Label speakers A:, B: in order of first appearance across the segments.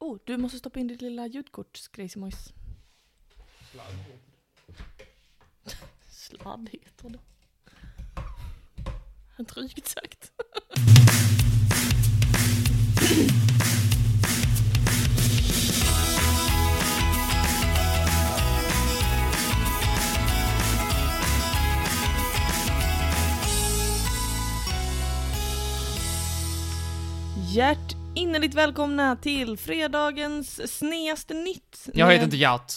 A: Oh, du måste stoppa in ditt lilla ljudkortsgrej Simojs. Sladd heter
B: Mm.
A: det. Drygt sagt. Hjärt innerligt välkomna till fredagens sneaste nytt.
B: Jag
A: med-
B: heter inte Hjärt.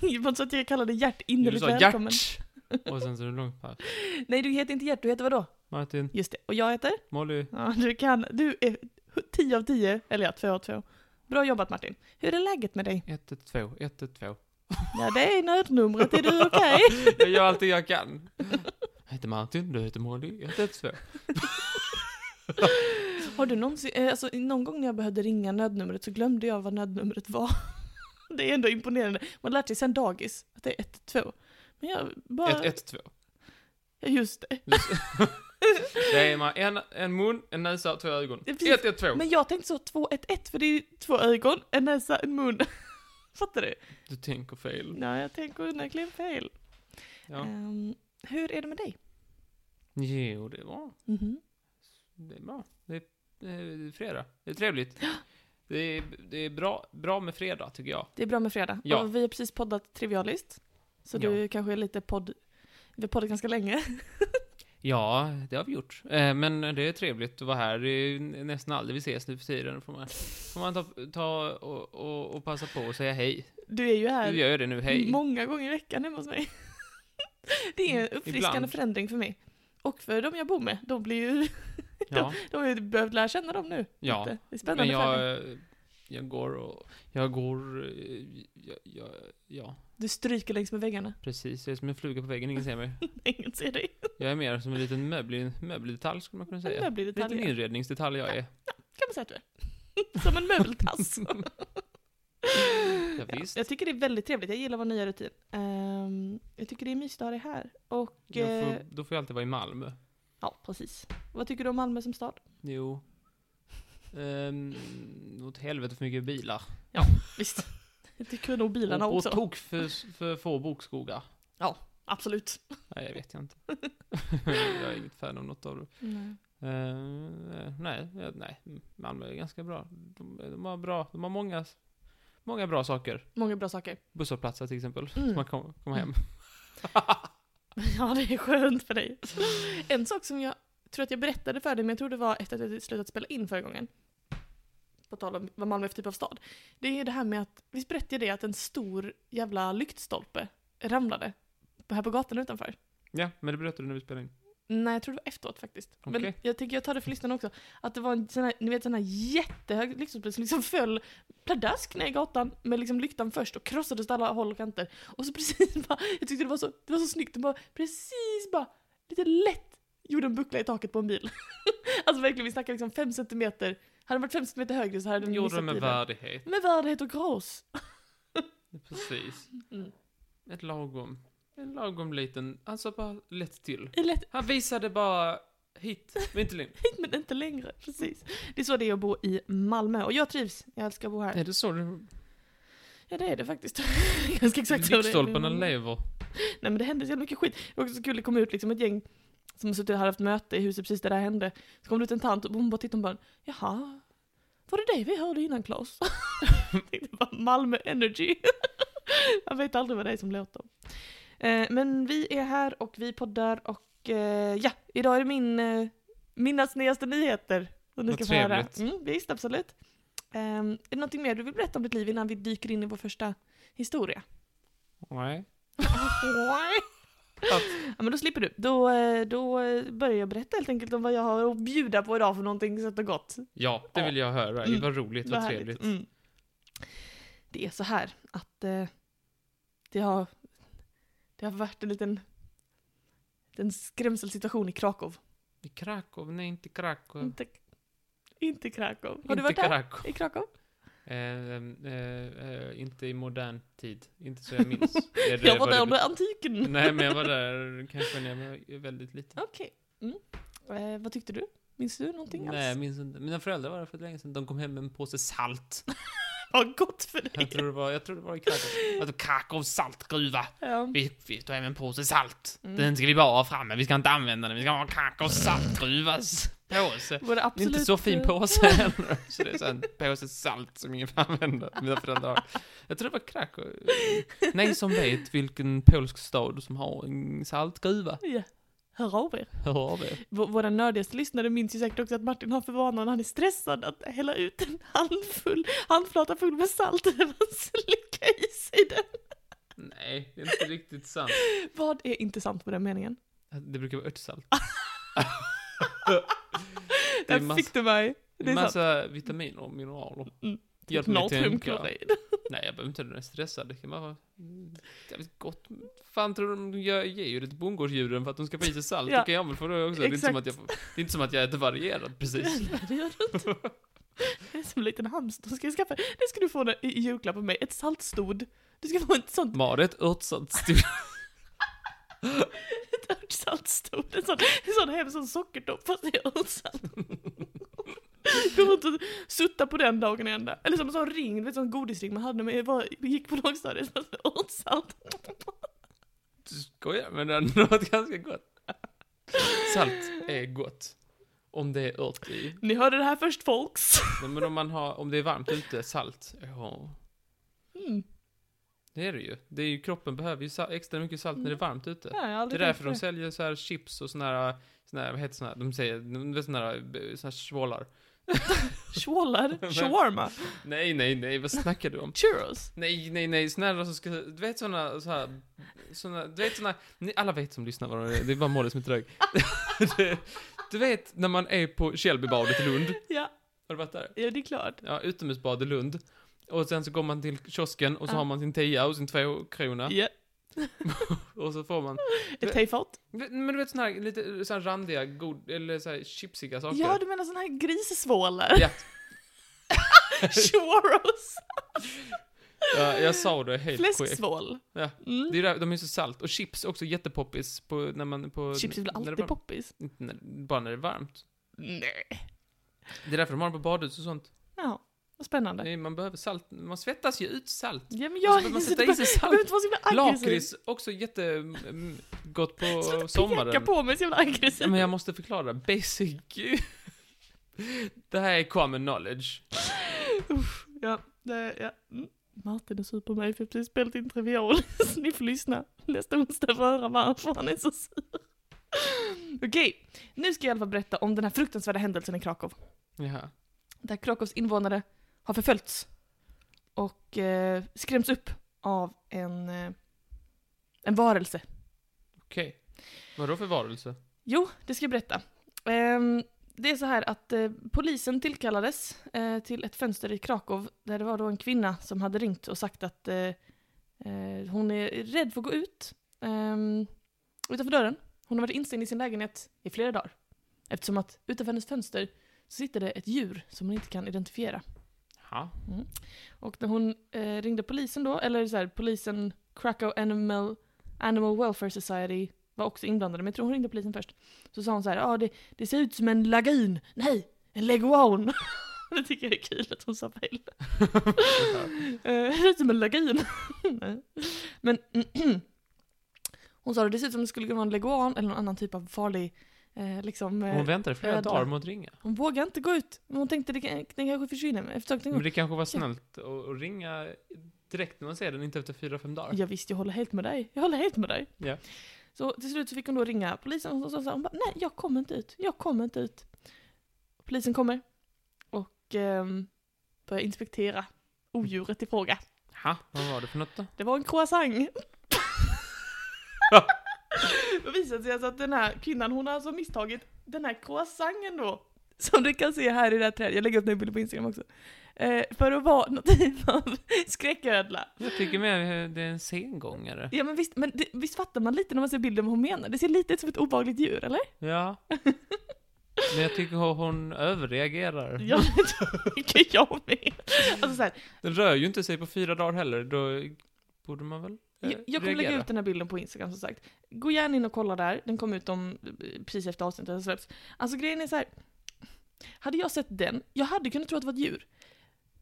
A: Det var inte så att jag kallade Gert
B: Du
A: innerligt
B: sa
A: välkommen.
B: Hjärt. Och sen så är det långt här.
A: Nej, du heter inte Gert, du heter vadå?
B: Martin,
A: Just det. Och jag heter?
B: Molly.
A: Ja, du kan. Du är 10 av 10, eller ja, 2 av 2. Bra jobbat Martin. Hur är läget med dig?
B: 112, 112.
A: Ja, det är nödnumret. Är du okej?
B: Jag gör allting jag kan. Jag heter Martin, du heter Molly. 112.
A: Har du någonsin, eh, alltså någon gång när jag behövde ringa nödnumret så glömde jag vad nödnumret var. Det är ändå imponerande. Man har lärt sig sen dagis att det är 1-2. Men jag bara...
B: 112.
A: Ja, just det.
B: Det är man en, en mun, en näsa, två ögon.
A: Ja, precis.
B: 112.
A: Men jag tänkte så 2-1-1 för det är två ögon, en näsa, en mun. Fattar du?
B: Du tänker fel.
A: Nej, jag tänker onekligen fel.
B: Ja.
A: Ehm, hur är det med dig?
B: Jo, det är bra.
A: Mhm.
B: Det är bra. Det är, det är eh, fredag. Det är trevligt. Det är, det är bra, bra med fredag, tycker jag.
A: Det är bra med fredag.
B: Ja.
A: Och vi har precis poddat Trivialist. Så du kanske är lite podd... Vi har poddat ganska länge.
B: Ja, det har vi gjort. Eh, men det är trevligt att vara här. Det är ju nästan aldrig vi ses nu för tiden. Får man, får man ta, ta och, och, och passa på och säga hej.
A: Du är ju här
B: Du gör det nu, hej. Mm,
A: många gånger i veckan hemma hos mig. Det är en uppfriskande
B: Ibland.
A: förändring för mig. Och för de jag bor med. De blir ju...
B: Ja,
A: De har ju behövt lära känna dem nu.
B: Ja.
A: lite. Det är
B: men
A: spännande förändring.
B: jag, eh, jag går och... Jag går... eh, Jag, jag, ja,
A: Du stryker längs med väggarna.
B: precis. Jag är som en fluga på väggen, ingen ser mig.
A: Ingen ser dig.
B: Jag är mer som en liten möbel, möbeldetalj, skulle man kunna
A: Men
B: säga. En
A: möbeldetaljer.
B: liten inredningsdetalj jag är.
A: Kan man säga att du är. Som en möbeltass.
B: Ja, visst.
A: Jag tycker det är väldigt trevligt, jag gillar vår nya rutin. Ehm, jag tycker det är mysigt att ha dig här. Och...
B: Jag
A: eh,
B: får, då får jag alltid vara i Malmö.
A: Ja, precis. Vad tycker du om Malmö som stad?
B: Jo. Ehm, åt helvete för mycket bilar.
A: Visst. Jag tycker nog bilarna
B: och,
A: också.
B: Och tok för, för få bokskogar.
A: Absolut.
B: Nej, jag vet jag inte. jag är inget fan av något av det. Eh, nej, jag- nej, Malmö är ganska bra. De, de har bra, de har många, många bra saker.
A: Många bra saker.
B: Busshållplatser till exempel,
A: Mm.
B: så man kommer kommer hem.
A: Ja, det är skönt för dig. En sak som jag tror att jag berättade för dig, men jag tror det var efter att jag slutat spela in förra gången. På tal om vad Malmö är för typ av stad. Det är det här med att, visst berättade jag det att en stor jävla lyktstolpe ramlade? Här på gatan utanför.
B: Ja, men det berättade du när vi spelade in.
A: Nej, jag tror det var efteråt faktiskt. Men
B: Okej.
A: jag tänker jag tar det för lyssnarna också. Att det var en sån här, ni vet sån här jättehög lyktstolpe som liksom föll pladask ner i gatan med liksom lyktan först och krossades åt alla håll och kanter. Och så precis bara, jag tyckte det var så, det var så snyggt, den bara precis bara lite lätt gjorde en buckla i taket på en bil. alltså verkligen, vi snackar liksom fem centimeter, hade den varit fem centimeter högre så hade den
B: Den gjorde
A: missat
B: de med
A: bilen.
B: värdighet.
A: Med värdighet och grås.
B: Precis.
A: Mm.
B: Ett lagom, en lagom liten, alltså bara lätt till.
A: Det är Lätt
B: Han visade bara hit, men inte längre.
A: hit men inte längre, precis. Det är så det är att bo i Malmö och jag trivs, jag älskar att bo här.
B: Är det så? du-
A: Ja det är det faktiskt. Ganska exakt så det är.
B: Lyktstolparna lever.
A: Nej men det hände så jävla mycket skit. Det var också så kul, det kom ut liksom ett gäng som har suttit och hade haft möte i huset precis där det här hände. Så kom det ut en tant och hon bara tittade och bara Jaha, var det det vi hörde innan Claes? Jag tänkte bara Malmö Energy. Man vet aldrig vad det är som låter. Eh, men vi är här och vi poddar och eh, ja, idag är det min, eh, mina snällaste nyheter. Som ni
B: Vad
A: ska få höra.
B: trevligt.
A: Mm, visst, absolut. Eh, är det någonting mer du vill berätta om ditt liv innan vi dyker in i vår första historia?
B: Nej.
A: ja, men då slipper du. Då, eh, då eh, börjar jag berätta helt enkelt om vad jag har att bjuda på idag för någonting sött och gott.
B: Ja, det vill jag höra.
A: Mm.
B: Vad roligt, vad
A: Vad härligt.
B: trevligt.
A: Mm. Det är så här att eh, det, har, det har varit en liten en skrämselsituation i Krakow.
B: I Krakow? Nej, inte Krakow.
A: Inte, inte Krakow. Mm. Har
B: Mm. inte
A: du varit där?
B: Krakow.
A: I Krakow?
B: Eh, eh, eh, inte i modern tid. Inte så jag minns. Det är det
A: jag var där
B: det-
A: under antiken.
B: Nej, men jag var där kanske när jag var väldigt liten.
A: Okej. Mm. Eh, vad tyckte du? Minns du någonting
B: Nej, jag
A: alls?
B: minns inte. Mina föräldrar var där för länge sedan. De kom hem med en påse salt.
A: Vad gott för dig!
B: Jag tror det var, jag tror det var i Krakow. Alltså Krakows saltgruva.
A: Ja.
B: Vi, vi tog hem en påse salt.
A: Mm.
B: Den ska vi bara ha framme. Vi ska inte använda den. Vi ska ha Krakows saltgruvas påse.
A: Var det
B: Det är
A: absolut...
B: inte så fin
A: eh,
B: påse heller. Så det är så här en påse salt som ingen får använda. Mina föräldrar har. Jag tror det var Krakow. Nej, som vet vilken polsk stad som har en saltgruva.
A: eh, Ja. Hör av er.
B: Hör av er.
A: V- våra nördigaste lyssnare minns ju säkert också att Martin har för vana när han är stressad att hälla ut en handfull, handflata full med salt och slicka i sig den.
B: Nej, det är inte riktigt sant.
A: Vad är inte sant med den meningen?
B: Det brukar vara örtsalt. det är
A: Där
B: massa,
A: fick du mig.
B: det
A: Det
B: är
A: är sant.
B: massa vitaminer och mineraler.
A: Mm.
B: Hjälp mig tänka.
A: Natriumklorid.
B: Nej, jag behöver inte när jag är stressad. Det kan man vara mm, jävligt gott. Fan tror du de gör, ger ju det till bondgårdsdjuren för att de ska få i sig salt?
A: Ja.
B: Det kan jag väl få då också. Det är, inte som
A: Exakt.
B: att jag, får- det är inte som att jag äter varierat precis.
A: Nej, det gör du inte. Det är som en liten hamster. Ska jag skaffa. Det ska du få när- i julklapp av mig. Ett saltstod. Du ska få ett sånt
B: Marit, örtsalt stor.
A: örtsaltstod. En sån, en sån hem sån sockertopp fast det är örtsalt. Gå runt och sutta på den dagen i ända. Eller som en sån ring, du vet sån godisring man hade när man var, gick på lågstadiet. fast med Örtsalt.
B: Du skojar men det är något ganska gott. Salt är gott. Om det är ört i.
A: Ni hörde det här först folks.
B: Nej, Men om man har, om det är varmt ute, salt. Ja.
A: Mm.
B: Det är det ju. Det är ju kroppen behöver ju sa- extra mycket salt när det är varmt ute.
A: Nej, jag har
B: Det är
A: aldrig tänkt
B: därför
A: på
B: de
A: det.
B: säljer så här chips och såna här, såna här vad heter såna här, de säger, de vet såna här, b- såna här svålar.
A: Shwallar, shawarma,
B: Nej, nej, nej, vad snackar du om?
A: churros.
B: Nej, nej, nej, såna här som ska, du vet såna, så här, såna, du vet såna, ni alla vet som lyssnar vad de är, det är bara Molly som är trög. Det- du vet när man är på Källbybadet i Lund,
A: Ja,
B: har du varit där?
A: ja, det är klart.
B: Ja, utomhusbad i Lund. Och sen så går man till kiosken och så
A: Ja.
B: har man sin tia och sin tvåkrona.
A: Ja.
B: Och så får man
A: Ett tejfat.
B: Men du vet såna här lite så här randiga, god, eller så här chipsiga saker?
A: Ja, du menar såna här grissvålar?
B: Ja.
A: Churros.
B: ja, jag sa det helt korrekt.
A: Fläsksvål.
B: Ja.
A: Mm.
B: Det är där, de är så salt. Och chips är också jättepoppis på, när man, på...
A: Chips är väl
B: när det är
A: alltid
B: varmt.
A: poppis?
B: Inte när, bara när det är varmt.
A: Nej.
B: Det är därför de har dem på badhus och sånt.
A: Jaha, vad spännande.
B: Nej, man behöver salt, man svettas ju ut salt.
A: Ja, men
B: och så
A: jag...
B: behöver man
A: Du
B: sätta i
A: behöver
B: sig salt.
A: inte vara ah, så jävla aggressiv.
B: Lakrits, också jättegott på
A: Sluta Peka
B: sommaren.
A: på mig så jävla
B: Ja,
A: aggressiv.
B: men jag måste förklara, basic... det här är common knowledge.
A: Uff, ja, det, ja. Mm. Martin är sur på mig för jag har precis spelat in Trivial. Så ni får lyssna nästa onsdag för att höra varför han är så sur. Okej, nu ska jag i alla fall berätta om den här fruktansvärda händelsen i Krakow.
B: Jaha.
A: där Krakows invånare har förföljts och eh, skräms upp av en, eh, en varelse.
B: Okej. Vadå för varelse?
A: Jo, det ska jag berätta. Ehm, det är så här att eh, polisen tillkallades eh, till ett fönster i Krakow där det var då en kvinna som hade ringt och sagt att eh, eh, hon är rädd för att gå ut ehm, utanför dörren. Hon har varit instängd i sin lägenhet i flera dagar eftersom att utanför hennes fönster så sitter det ett djur som hon inte kan identifiera.
B: Ja.
A: Och när hon eh, ringde polisen då, eller så här, polisen Krakow Animal, Animal Welfare Society var också inblandade, men jag tror hon ringde polisen först. Så sa hon så här, ja ah, det, det ser ut som en lagun, nej, en leguan. det tycker jag är kul att hon sa fel. Eh, det ser ut som en lagun. Nej. men hon sa det, det ser ut som det skulle kunna vara en leguan eller någon annan typ av farlig, eh, liksom, eh,
B: Hon väntade flera
A: ödla.
B: dagar med att ringa.
A: hon vågade inte gå ut. Hon tänkte det kan- den kanske försvinner, men efter ett tag
B: Men det kanske var snällt att att ringa direkt när man ser den, inte efter fyra, fem dagar.
A: Ja, visst, jag håller helt med dig. Jag håller helt med dig.
B: Ja.
A: Så till slut så fick hon då ringa polisen och så sa hon bara, nej jag kommer inte ut, jag kommer inte ut. Polisen kommer och ehm, börjar inspektera odjuret i fråga.
B: Ha, vad var det för något då?
A: Det var en croissant. Då visade sig alltså att den här kvinnan, hon har alltså misstagit den här croissanten då, som du kan se här i det här trädet, jag lägger upp den här bilden på Instagram också, eh, för att vara någon typ av skräcködla.
B: Jag tycker mer eh, det är en sengångare.
A: Ja men visst, men det, visst fattar man lite när man ser bilden vad hon menar? Det ser lite ut som ett obehagligt djur, eller?
B: Ja. Men jag tycker hon- hon överreagerar.
A: Ja, det tycker jag med. Alltså så här,
B: Den rör ju inte sig på fyra dagar heller, då borde man väl eh,
A: jag, jag kommer lägga ut den här bilden på Instagram som sagt. eh, Gå gärna in och kolla där, den kom ut om, precis efter avsnittet har släppts. Alltså grejen är så här, Hade jag sett den, jag hade kunnat tro att det var ett djur.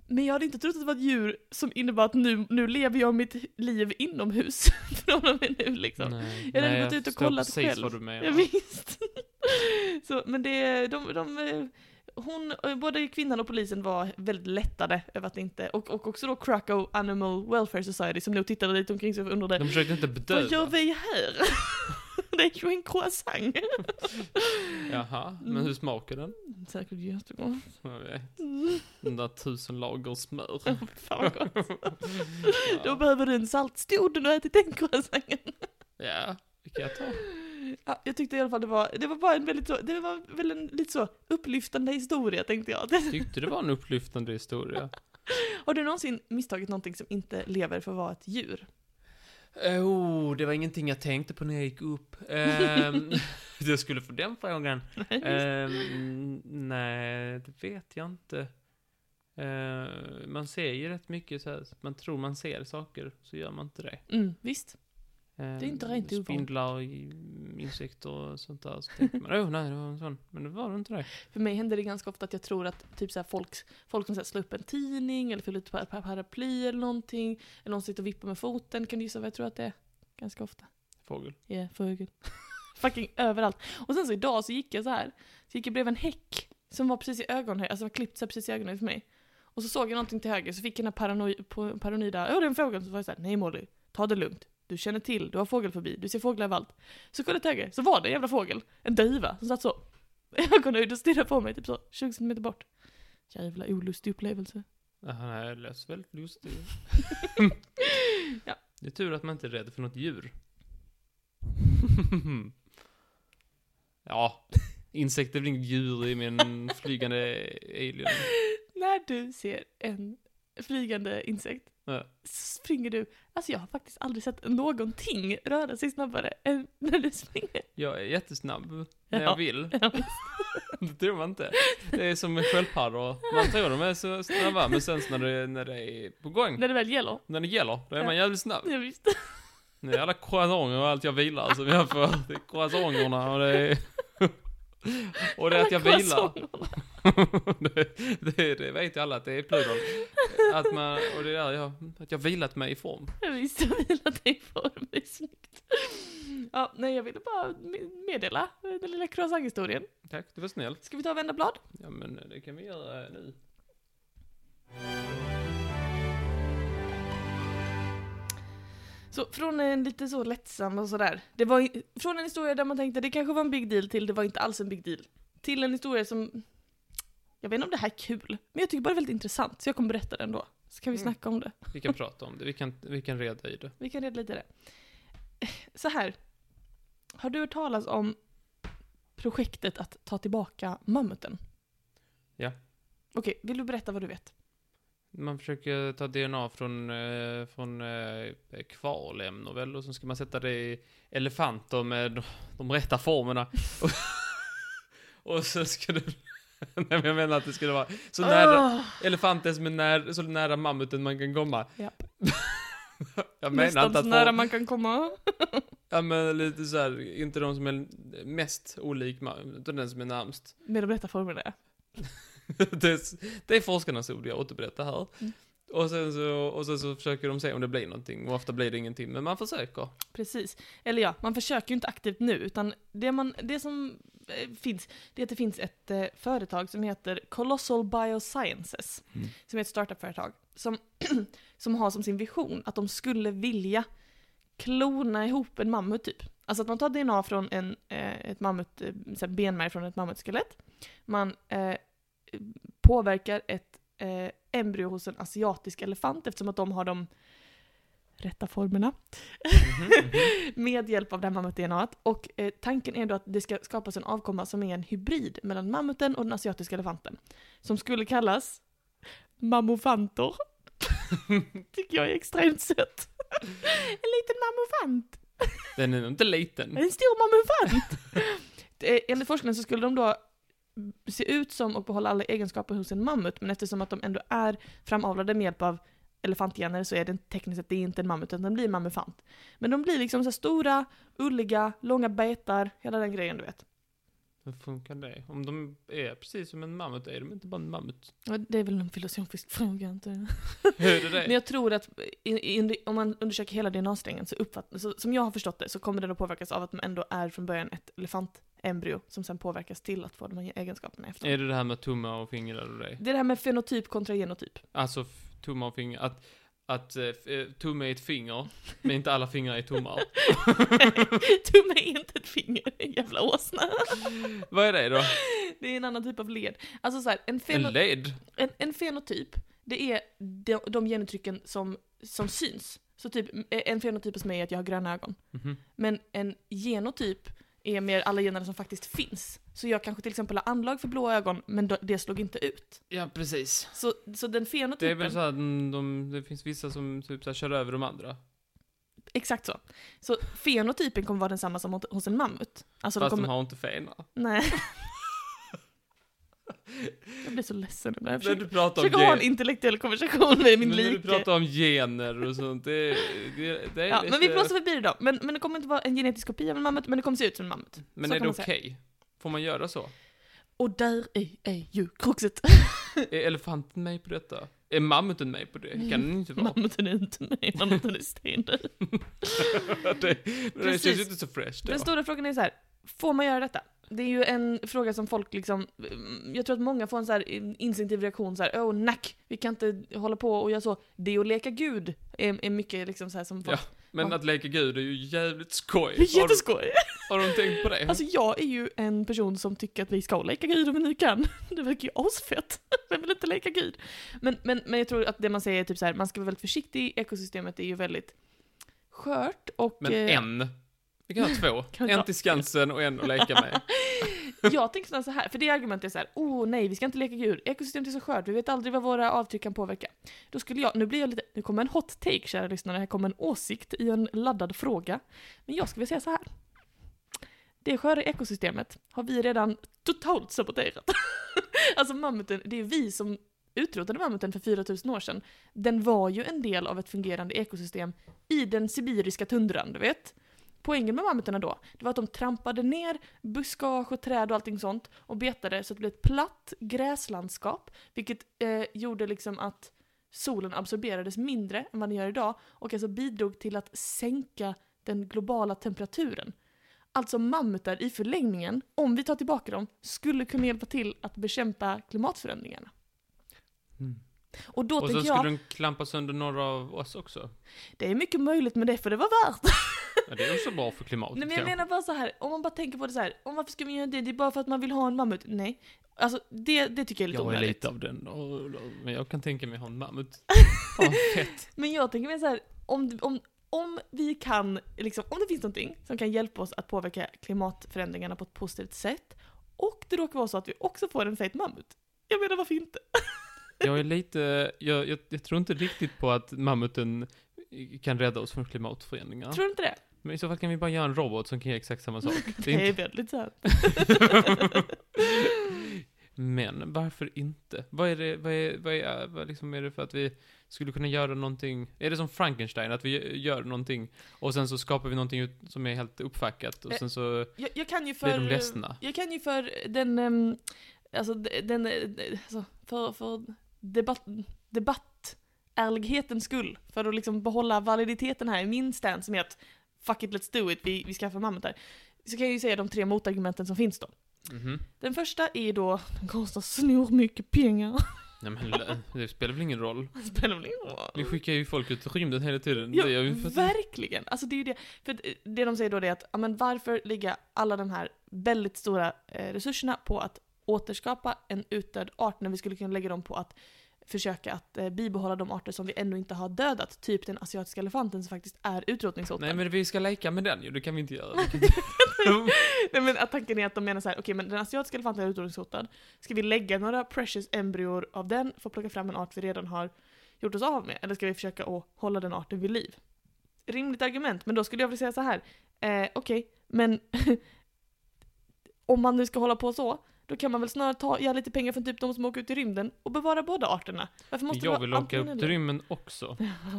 A: Men jag hade inte trott att det var ett djur som innebar att nu, nu lever jag mitt liv inomhus från och med nu liksom.
B: Nej,
A: Jag hade
B: nej,
A: gått ut och
B: förstår
A: kollat
B: precis
A: själv.
B: vad du menar.
A: Ja, visst. Så, men det, de, de, eh, hon, eh, både kvinnan och polisen var väldigt lättade över att det inte, och, och också då Krakow Animal Welfare Society som nog tittade lite omkring sig och undrade
B: De försökte inte
A: Vad gör
B: bedöva.
A: vi här? det är ju en croissant.
B: Jaha, men
A: Mm.
B: hur smakar den?
A: Säkert jättegott.
B: Jag vet.
A: Mm,
B: Den där tusen lager smör.
A: Fan vad gott. Då
B: Ja,
A: behöver du en saltstod när du har ätit den croissanten.
B: ja det kan jag ta.
A: Ja, jag tyckte i alla fall det var, det var bara en väldigt så, det var väl en lite så upplyftande historia tänkte jag.
B: Tyckte det var en upplyftande historia.
A: Har du någonsin misstagit någonting som inte lever för att vara ett djur?
B: Oh, det var ingenting jag tänkte på när jag gick upp. Ehm, jag skulle få den frågan. Ehm, nej, det vet jag inte. Ehm, man ser ju rätt mycket så här, man tror man ser saker, så gör man inte det.
A: Mm, visst.
B: Ehm,
A: Det är inte rent ovanligt.
B: Spindlar, i- insekter och sånt där. Så tänker man, oh nej, det var en sån. Men det var det inte det.
A: För mig händer det ganska ofta att jag tror att typ så här folk, folk som så här slår upp en tidning eller fyller ut pa- pa- paraply eller någonting, eller någon sitter och vippar med foten, kan du gissa vad jag tror att det är? Ganska ofta.
B: Fågel.
A: Ja, yeah, fågel. Fucking överallt. Och sen så idag så gick jag så här. Så gick jag bredvid en häck som var precis i ögonhöjd, alltså var klippt så här precis i ögonhöjd för mig. Och så såg jag någonting till höger, så fick jag den här parano- po- paranoida, åh det är en fågel, så var jag såhär, nej Molly, ta det lugnt. Du känner till, du har fågelfobi, du ser fåglar överallt. Så kollade jag till höger, så var det en jävla fågel, en duva, som satt så, i ögonhöjd och stirrade på mig typ så, 20 centimeter bort. Jävla olustig upplevelse.
B: Jaha, nej, det lät väldigt lustigt.
A: Ja.
B: Det är tur att man inte är rädd för något djur. ja, insekter är väl inget djur i min flygande alien.
A: När du ser en flygande insekt
B: Ja.
A: springer du. Alltså jag har faktiskt aldrig sett någonting röra sig snabbare än när du springer.
B: Jag är jättesnabb när
A: Ja.
B: jag vill.
A: Ja,
B: Det tror man inte. Det är som med sköldpaddor. Man tror de är så snabba, men sen när det, när det är på gång,
A: när det väl gäller.
B: när det gäller, då är man
A: Ja.
B: jävligt snabb.
A: Ja, visst.
B: Det är alla croissanter och allt jag vilar, så vi har för det är croissanterna och det är... Och det är att jag
A: Alla
B: vilar.
A: croissanterna.
B: det, det, det vet ju alla att det är pludel. Att man, och det är där jag, att jag vilat mig i form.
A: Ja, visst, jag vilar dig i form. Det är snyggt. Ja, nej, jag ville bara med- meddela den lilla croissanthistorien.
B: Tack, det var snällt.
A: Ska vi ta och vända blad?
B: Ja men det kan vi göra nu.
A: Så från en lite så lättsam och sådär. Det var i- från en historia där man tänkte det kanske var en big deal till det var inte alls en big deal. Till en historia som, jag vet inte om det här är kul, men jag tycker bara det är väldigt intressant så jag kommer berätta den då. Så kan vi
B: Mm.
A: snacka om det.
B: Vi kan prata om det, vi kan, vi kan reda i det.
A: Vi kan reda lite i det. Så här. Har du hört talas om projektet att ta tillbaka mammuten?
B: Ja.
A: Okej, vill du berätta vad du vet?
B: Man försöker ta DNA från, eh, från eh, kvalämnen väl, och så ska man sätta det i elefanter med de rätta formerna. och, och så ska det... Nej men jag menar att det skulle vara så nära,
A: Åh,
B: Elefanten som är när, så nära mammuten man kan komma.
A: Ja.
B: jag menar
A: nästan
B: inte
A: så
B: att
A: nära
B: få,
A: man kan komma.
B: ja, men lite så här, inte de som är mest olik ma- utan den som är närmst.
A: Med de rätta formerna.
B: det, är, s- det är forskarnas ord jag återberättar här.
A: Mm.
B: Och, sen så, och sen så försöker de se om det blir någonting, och ofta blir det ingenting, men man försöker.
A: Precis. Eller ja, man försöker ju inte aktivt nu, utan det, man, det som eh, finns, det är att det finns ett eh, företag som heter Colossal Biosciences,
B: Mm.
A: som är ett startupföretag, som, som har som sin vision att de skulle vilja klona ihop en mammut typ. Alltså att man tar DNA från en, eh, ett mammut, eh, så här benmärg från ett mammutskelett, man eh, påverkar ett eh, embryo hos en asiatisk elefant eftersom att de har de rätta formerna med hjälp av det här mammut-DNA. Och eh, tanken är då att det ska skapas en avkomma som är en hybrid mellan mammuten och den asiatiska elefanten. Som skulle kallas mammofanter. Tycker jag är extremt sött. en liten mammofant.
B: Den är nog inte liten.
A: En stor mammofant. Eh, Enligt forskningen så skulle de då se ut som och behålla alla egenskaper hos en mammut, men eftersom att de ändå är framavlade med hjälp av elefantgener så är det tekniskt sett det är inte en mammut, utan den blir en mammofant. Men de blir liksom så här stora, ulliga, långa betar, hela den grejen du vet.
B: Hur funkar det? Om de är precis som en mammut, är de inte bara en mammut?
A: Ja, Det är väl en filosofisk fråga, inte
B: Hur är
A: Men
B: det?
A: jag tror att i, i, om man undersöker hela DNA-strängen så uppfattas, så, som jag har förstått det, så kommer den att påverkas av att man ändå är från början ett elefantembryo som sen påverkas till att få de här egenskaperna efter.
B: Är det det här med tummar och fingrar och det?
A: Det är det här med fenotyp kontra genotyp.
B: Alltså f- tummar och fingrar. Att, att eh, f- eh, tumme är ett finger, men inte alla fingrar är tummar.
A: Tumme är inte ett finger, en jävla åsna.
B: Vad är det då?
A: Det är en annan typ av led. Alltså så här, en,
B: En
A: feno,
B: led?
A: en, en fenotyp, det är de, de genuttrycken som, som syns. Så typ, en fenotyp hos mig är att jag har gröna ögon.
B: Mhm.
A: Men en genotyp är mer alla generna som faktiskt finns. Så jag kanske till exempel har anlag för blå ögon, men då- det slog inte ut.
B: Ja, precis.
A: Så, så den fenotypen,
B: Det är väl så att mm, de, det finns vissa som typ så här, kör över de andra.
A: exakt så. Så fenotypen kommer vara densamma som hos- hos en mammut. Alltså de
B: fast
A: kommer...
B: de har inte fenor.
A: Nej. jag blir så ledsen ibland. Jag
B: När
A: försöker,
B: du pratar om
A: försöker ha en
B: gen,
A: intellektuell konversation med min
B: men när du
A: like.
B: pratar om gener och sånt, det, det, det är
A: Ja,
B: lite...
A: men vi blåser förbi det då. Men, men det kommer inte vara en genetisk kopia av en mammut, men det kommer se ut som en mammut.
B: men
A: så
B: är
A: kan
B: det
A: man säga.
B: okej? Får man göra så?
A: Och där är, är ju kruxet.
B: Är elefanten med på detta? Är mammuten med på det? Kan den inte vara?
A: Mammuten är inte med, mammuten är stendöd.
B: det, det
A: Precis.
B: känns ju inte så fresh då.
A: Den stora frågan är så här, får man göra detta? Det är ju en fråga som folk liksom, mm, jag tror att många får en så här instinktiv reaktion så här, åh nack, vi kan inte hålla på och göra så. Det och leka gud är, är mycket liksom så här som folk,
B: Men
A: Ja.
B: att leka gud är ju jävligt skoj.
A: Det är
B: Har,
A: jätteskoj!
B: har de tänkt på det?
A: Alltså jag är ju en person som tycker att vi ska leka gud om vi nu kan. Det verkar ju asfett. Vem vill inte leka gud? Men, men, men jag tror att det man säger är typ så här, man ska vara väldigt försiktig, ekosystemet är ju väldigt skört och...
B: men
A: eh,
B: en. Vi kan ha två.
A: Kan vi ta-
B: en till Skansen och en att leka med.
A: Jag tänker snarare så här, för det argumentet är så här, oh nej, vi ska inte leka djur, ekosystemet är så skört, vi vet aldrig vad våra avtryck kan påverka. Då skulle jag, nu blir jag lite, nu kommer en hot take kära lyssnare, här kommer en åsikt i en laddad fråga. Men jag skulle vilja säga så här. Det sköra ekosystemet har vi redan totalt saboterat. alltså mammuten, det är vi som utrotade mammuten för 4000 år sedan. Den var ju en del av ett fungerande ekosystem i den sibiriska tundran, du vet. Poängen med mammutarna då, det var att de trampade ner buskage och träd och allting sånt och betade så att det blev ett platt gräslandskap, vilket eh, gjorde liksom att solen absorberades mindre än vad den gör idag och alltså bidrog till att sänka den globala temperaturen. Alltså mammutar i förlängningen, om vi tar tillbaka dem, skulle kunna hjälpa till att bekämpa klimatförändringarna.
B: Mm.
A: Och då
B: Och så
A: tänker
B: skulle
A: jag,
B: den klampa sönder några av oss också.
A: det är mycket möjligt med det för det var värt
B: Ja, det är också bra för klimatet
A: Nej men jag
B: kanske.
A: menar bara så här. om man bara tänker på det så här. om varför ska vi göra det? Det är bara för att man vill ha en mammut. Nej. Alltså det, det tycker jag är lite
B: Jag är
A: onödigt.
B: lite av den, och- och- men jag kan tänka mig ha en mammut. Fan vad fett.
A: Men jag tänker mig så här. om, om, om vi kan, liksom, om det finns någonting som kan hjälpa oss att påverka klimatförändringarna på ett positivt sätt, och det råkar vara så att vi också får en fet mammut. Jag menar varför inte?
B: Jag är lite, jag, jag, jag tror inte riktigt på att mammuten kan rädda oss från klimatförändringar.
A: Tror du inte det?
B: Men i så fall kan vi bara göra en robot som kan göra exakt samma sak. Det är
A: Det är
B: inte...
A: väldigt sant.
B: Men varför inte? Vad är det, vad är, vad är, vad liksom är det för att vi skulle kunna göra någonting? Är det som Frankenstein, att vi gör någonting och sen så skapar vi någonting ut- som är helt uppfackat och
A: Eh,
B: sen så
A: Jag, jag kan ju
B: blir de
A: för...
B: ledsna?
A: Jag kan ju för den, ehm, alltså de- den, eh, de- alltså för, för debatt, debattärlighetens skull, för att liksom behålla validiteten här, i min stance som är att fuck it, let's do it, vi, vi skaffar mammutar. Så kan jag ju säga de tre motargumenten som finns då.
B: Mhm.
A: Den första är då, den kostar snor mycket pengar.
B: Nej men lö- det spelar väl ingen roll?
A: Det Spelar väl ingen roll.
B: Vi skickar ju folk ut i rymden hela tiden.
A: Ja,
B: det gör vi för att-
A: verkligen. Alltså det är ju det. För att eh, det de säger då det är att, ja, men varför lägga alla de här väldigt stora eh, resurserna på att återskapa en utdöd art när vi skulle kunna lägga dem på att försöka att eh, bibehålla de arter som vi ännu inte har dödat, typ den asiatiska elefanten som faktiskt är utrotningshotad.
B: Nej men vi ska leka med den ju, det kan vi inte göra. Vi kan inte...
A: Nej men att tanken är att de menar så här, okej men den asiatiska elefanten är utrotningshotad. Ska vi lägga några precious embryor av den för att plocka fram en art vi redan har gjort oss av med? Eller ska vi försöka att hålla den arten vid liv? Rimligt argument, men då skulle jag vilja säga så här. Eh, okej, men om man nu ska hålla på så, då kan man väl snarare ta, ge lite pengar från typ de som åker ut i rymden och bevara båda arterna. Varför måste det
B: jag
A: vara
B: vill åka
A: antingen
B: upp
A: eller?
B: till rymden också.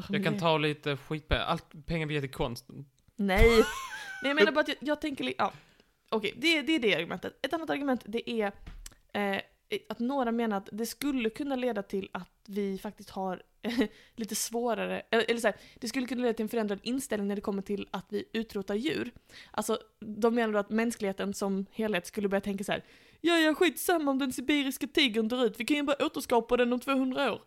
B: Jag kan ta lite skitpengar, allt pengar vi ger till konsten.
A: Nej! Nej jag menar bara att jag, jag tänker li- ja. Okej, det, det är det argumentet. Ett annat argument det är eh, att några menar att det skulle kunna leda till att vi faktiskt har eh, lite svårare, eh, eller, eller så här, det skulle kunna leda till en förändrad inställning när det kommer till att vi utrotar djur. Alltså, de menar då att mänskligheten som helhet skulle börja tänka så här. Ja, ja, skitsamma om den sibiriska tigern dör ut, vi kan ju bara återskapa den om 200 år.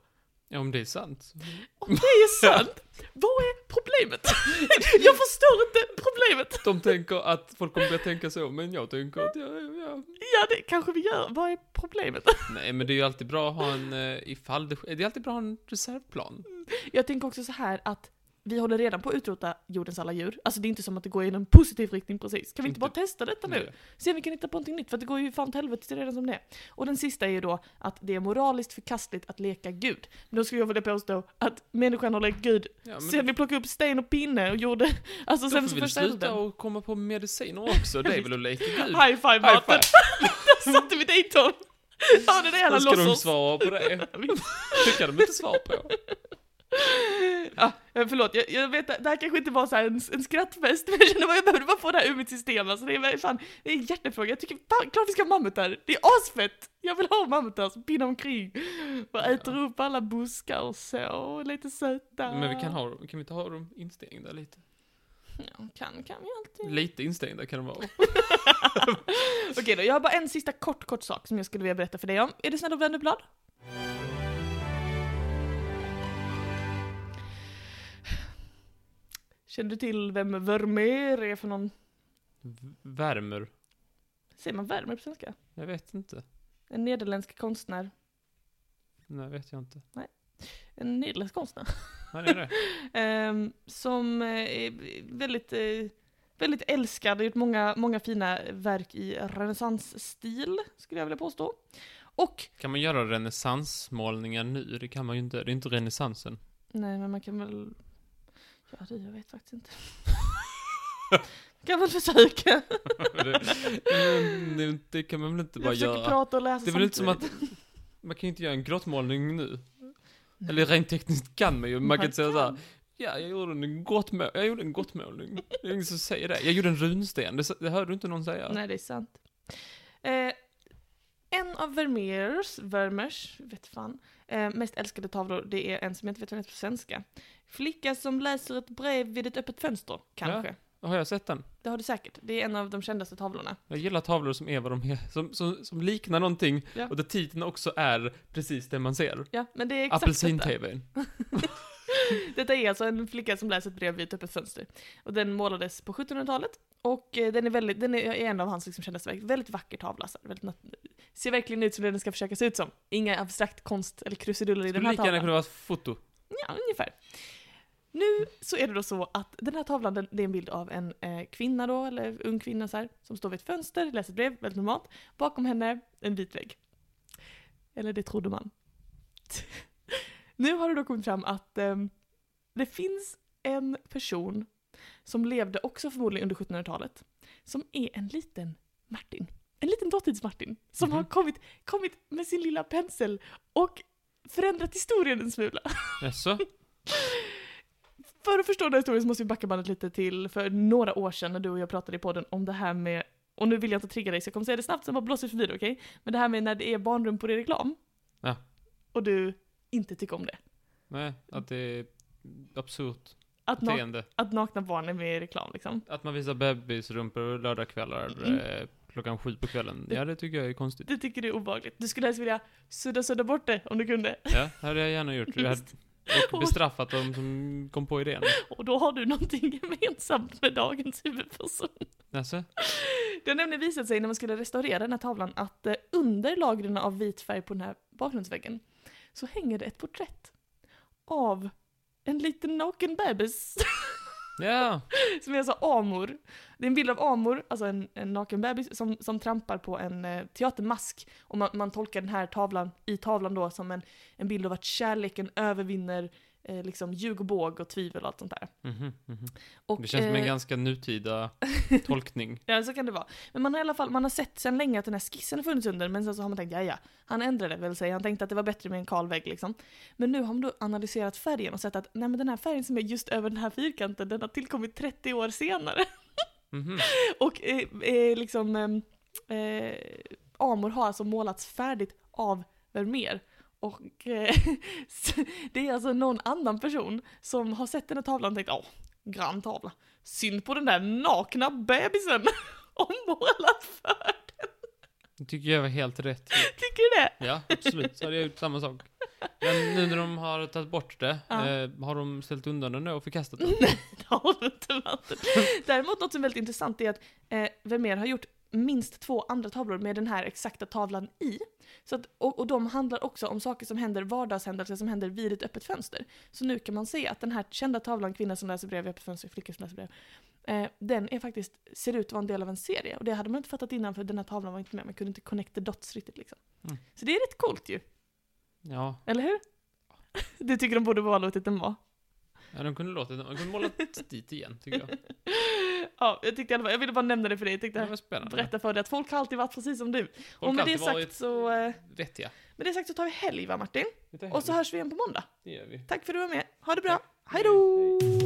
B: Ja, om det är sant.
A: Om det är sant, vad är problemet? Jag förstår inte problemet.
B: De tänker att folk kommer börja tänka så, men jag tänker att ja, ja, ja.
A: Ja, det kanske vi gör. Vad är problemet?
B: Nej, men det är ju alltid bra att ha en, eh, ifall det sk- det är alltid bra att ha en reservplan.
A: Jag tänker också så här att vi håller redan på att utrota jordens alla djur. Alltså det är inte som att det går i en positiv riktning precis. Kan vi inte,
B: Inte-
A: bara testa detta nu?
B: Nej.
A: Se om vi kan hitta på någonting nytt, för att det går ju fan till helvete det är redan som det är. Och den sista är ju då att det är moraliskt förkastligt att leka gud. Men då skulle jag vilja påstå att människan har lekt gud
B: Ja,
A: sen vi plockade upp sten och pinne och gjorde, alltså
B: Då
A: sen
B: får vi
A: första
B: sluta
A: elden.
B: och komma på mediciner också, det är väl att leka gud.
A: High five
B: High
A: Martin! Där satte vi dit dem! Hörde det
B: Hur
A: alla
B: ska de
A: låtsas?
B: svara på det? Det kan de inte svara på.
A: Ja, eh, förlåt, jag, jag vet, det här kanske inte var så här en, en skrattfest, men jag känner bara jag behövde bara få det här ur mitt system. Alltså, det, är, fan, det är en hjärtefråga. Jag tycker fan, klart vi ska ha mammutar. Det är asfett! Jag vill ha mammutar som pinnar omkring och äter upp alla buskar och så, och lite söta.
B: Men vi kan ha dem, kan vi inte ha dem instängda lite?
A: Ja, kan, kan vi alltid.
B: Lite instängda kan de vara.
A: Okej då, jag har bara en sista kort, kort sak som jag skulle vilja berätta för dig om. Är du snäll och vänder blad? Känner du till vem Vermeer är för någon?
B: V- Värmer.
A: Säger man värme på svenska?
B: Jag vet inte.
A: En nederländsk konstnär.
B: Nej, vet jag inte.
A: En nederländsk konstnär.
B: Vad är det?
A: Ehm, som eh, är väldigt, eh, väldigt älskad, har gjort många, många fina verk i renässansstil, skulle jag vilja påstå. Och,
B: Kan man göra renässansmålningar nu? Det kan man ju inte. Det är inte renässansen.
A: nej men man kan väl... Ja det, jag vet faktiskt inte. kan väl försöka.
B: det, men det, det kan man väl inte
A: Jag
B: bara
A: försöker
B: göra?
A: prata och läsa
B: Det är väl inte som att
A: samtidigt.
B: man kan ju inte göra en grottmålning nu. Eller rent tekniskt kan man ju. Man kan inte säga såhär, ja jag gjorde en, grottmå- jag gjorde en grottmålning. Det är ingen som säger det. Jag gjorde en runsten. Det, s- det hör du inte någon säga.
A: Nej, det är sant. Eh, en av Vermeers, Vermeers, vet fan, eh, mest älskade tavlor, det är en som jag inte vet vad den heter på svenska. Flicka som läser ett brev vid ett öppet fönster, kanske.
B: Har jag sett den?
A: Det har du säkert. Det är en av de kändaste tavlorna.
B: Jag gillar tavlor som är vad de är, som, som, som liknar någonting
A: Ja.
B: och där titeln också är precis det man ser.
A: Ja, men det är exakt detta.
B: Apelsin-tvn.
A: Detta är alltså en flicka som läser ett brev vid ett öppet fönster. Och den målades på 1700-talet. Och eh, den är, väldigt, den är är en av hans liksom kändaste verk. Väldigt vacker tavla. Så här, väldigt nat- ser verkligen ut som det den ska försöka se ut som. Inga abstrakt konst eller krusiduller i den
B: Skulle
A: här
B: lika gärna
A: tavlan.
B: kunna vara ett foto.
A: Ja, ungefär. Nu så är det då så att den här tavlan, den- det är en bild av en eh, kvinna då, eller ung kvinna så här, som står vid ett fönster, läser ett brev, väldigt normalt. Bakom henne, en vit vägg. Eller det trodde man. nu har det då kommit fram att ehm, det finns en person som levde också förmodligen under 1700-talet, som är en liten Martin. En liten dåtids-Martin, som har
B: Mhm.
A: kommit, kommit med sin lilla pensel och förändrat historien en smula.
B: Jaså?
A: För att förstå den här historien så måste vi backa bandet lite till för några år sedan när du och jag pratade i podden om det här med, och nu vill jag inte trigga dig så jag kommer säga det snabbt, sen bara blåser vi förbi det, okej? Men det här med när det är barnrumpor i reklam.
B: Ja.
A: Och du inte tycker om det.
B: Nej, att det är absurt
A: Att, na-
B: beteende.
A: att nakna barn är med i reklam liksom.
B: Att man visar bebisrumpor lördagkvällar
A: Mm.
B: eh, klockan sju på kvällen. Ja, det tycker jag är konstigt.
A: Du tycker det är obehagligt. Du skulle helst vilja sudda sudda bort det om du kunde.
B: Ja, det hade jag gärna gjort. Jag hade och bestraffat dem som kom på idén.
A: Och då har du någonting gemensamt med dagens huvudperson.
B: Jaså?
A: Det har nämligen visat sig när man skulle restaurera den här tavlan att eh, under lagren av vit färg på den här bakgrundsväggen så hänger det ett porträtt av en liten naken bebis
B: Ja,
A: som är alltså Amor. Det är en bild av Amor, alltså en, en naken bebis, som, som trampar på en eh, teatermask. Och man, man tolkar den här tavlan, i tavlan då, som en, en bild av att kärleken övervinner eh, liksom ljug och båg och tvivel och allt sånt där.
B: Mhm, mhm.
A: Och,
B: Det känns som en
A: eh,
B: ganska nutida tolkning.
A: Ja, så kan det vara. Men man har i alla fall man har sett sen länge att den här skissen har funnits under, men sen så har man tänkt ja ja, han ändrade väl sig, han tänkte att det var bättre med en kal vägg liksom. Men nu har man då analyserat färgen och sett att nej men den här färgen som är just över den här fyrkanten, den har tillkommit 30 år senare.
B: Mhm.
A: Och eh, eh, liksom eh, eh, Amor har alltså målats färdigt av Vermeer. Och eh, det är alltså någon annan person som har sett den här tavlan och tänkt åh, grann tavla. Synd på den där nakna bebisen. Och målat för.
B: Det tycker jag var helt rätt.
A: Tycker du det?
B: Ja, absolut. Så hade jag gjort samma sak. Men nu när de har tagit bort det,
A: Ja.
B: eh, har de ställt undan den då och förkastat den?
A: Nej, det har du inte varit. Däremot något som är väldigt intressant är att eh, Vermeer har gjort minst två andra tavlor med den här exakta tavlan i. Så att, och, och de handlar också om saker som händer, vardagshändelser som händer vid ett öppet fönster. Så nu kan man se att den här kända tavlan, kvinna som läser brev vid öppet fönster, flicka som läser brev, eh, den är faktiskt, ser ut att vara en del av en serie. Och det hade man inte fattat innan för den här tavlan var inte med, man kunde inte connect the dots riktigt liksom.
B: Mm.
A: Så det är rätt coolt ju,
B: Ja,
A: eller hur? Du tycker de borde vara låtit den vara?
B: ja de kunde låta den, de kunde måla dit igen tycker jag.
A: Ja, jag tyckte i alla fall, jag ville bara nämna det för dig, jag tyckte
B: Det
A: det
B: var spännande.
A: berätta för dig att folk har alltid varit precis som du.
B: Mm. Folk
A: och med
B: har
A: det,
B: alltid
A: sagt
B: varit
A: så, eh,
B: vettiga.
A: med det sagt så tar vi helg va Martin?
B: Det tar
A: Och så
B: helg.
A: hörs vi igen på måndag.
B: Det gör vi.
A: Tack för att du var med, ha det bra,
B: Mm. Tack.
A: hejdå!
B: Hej, hej.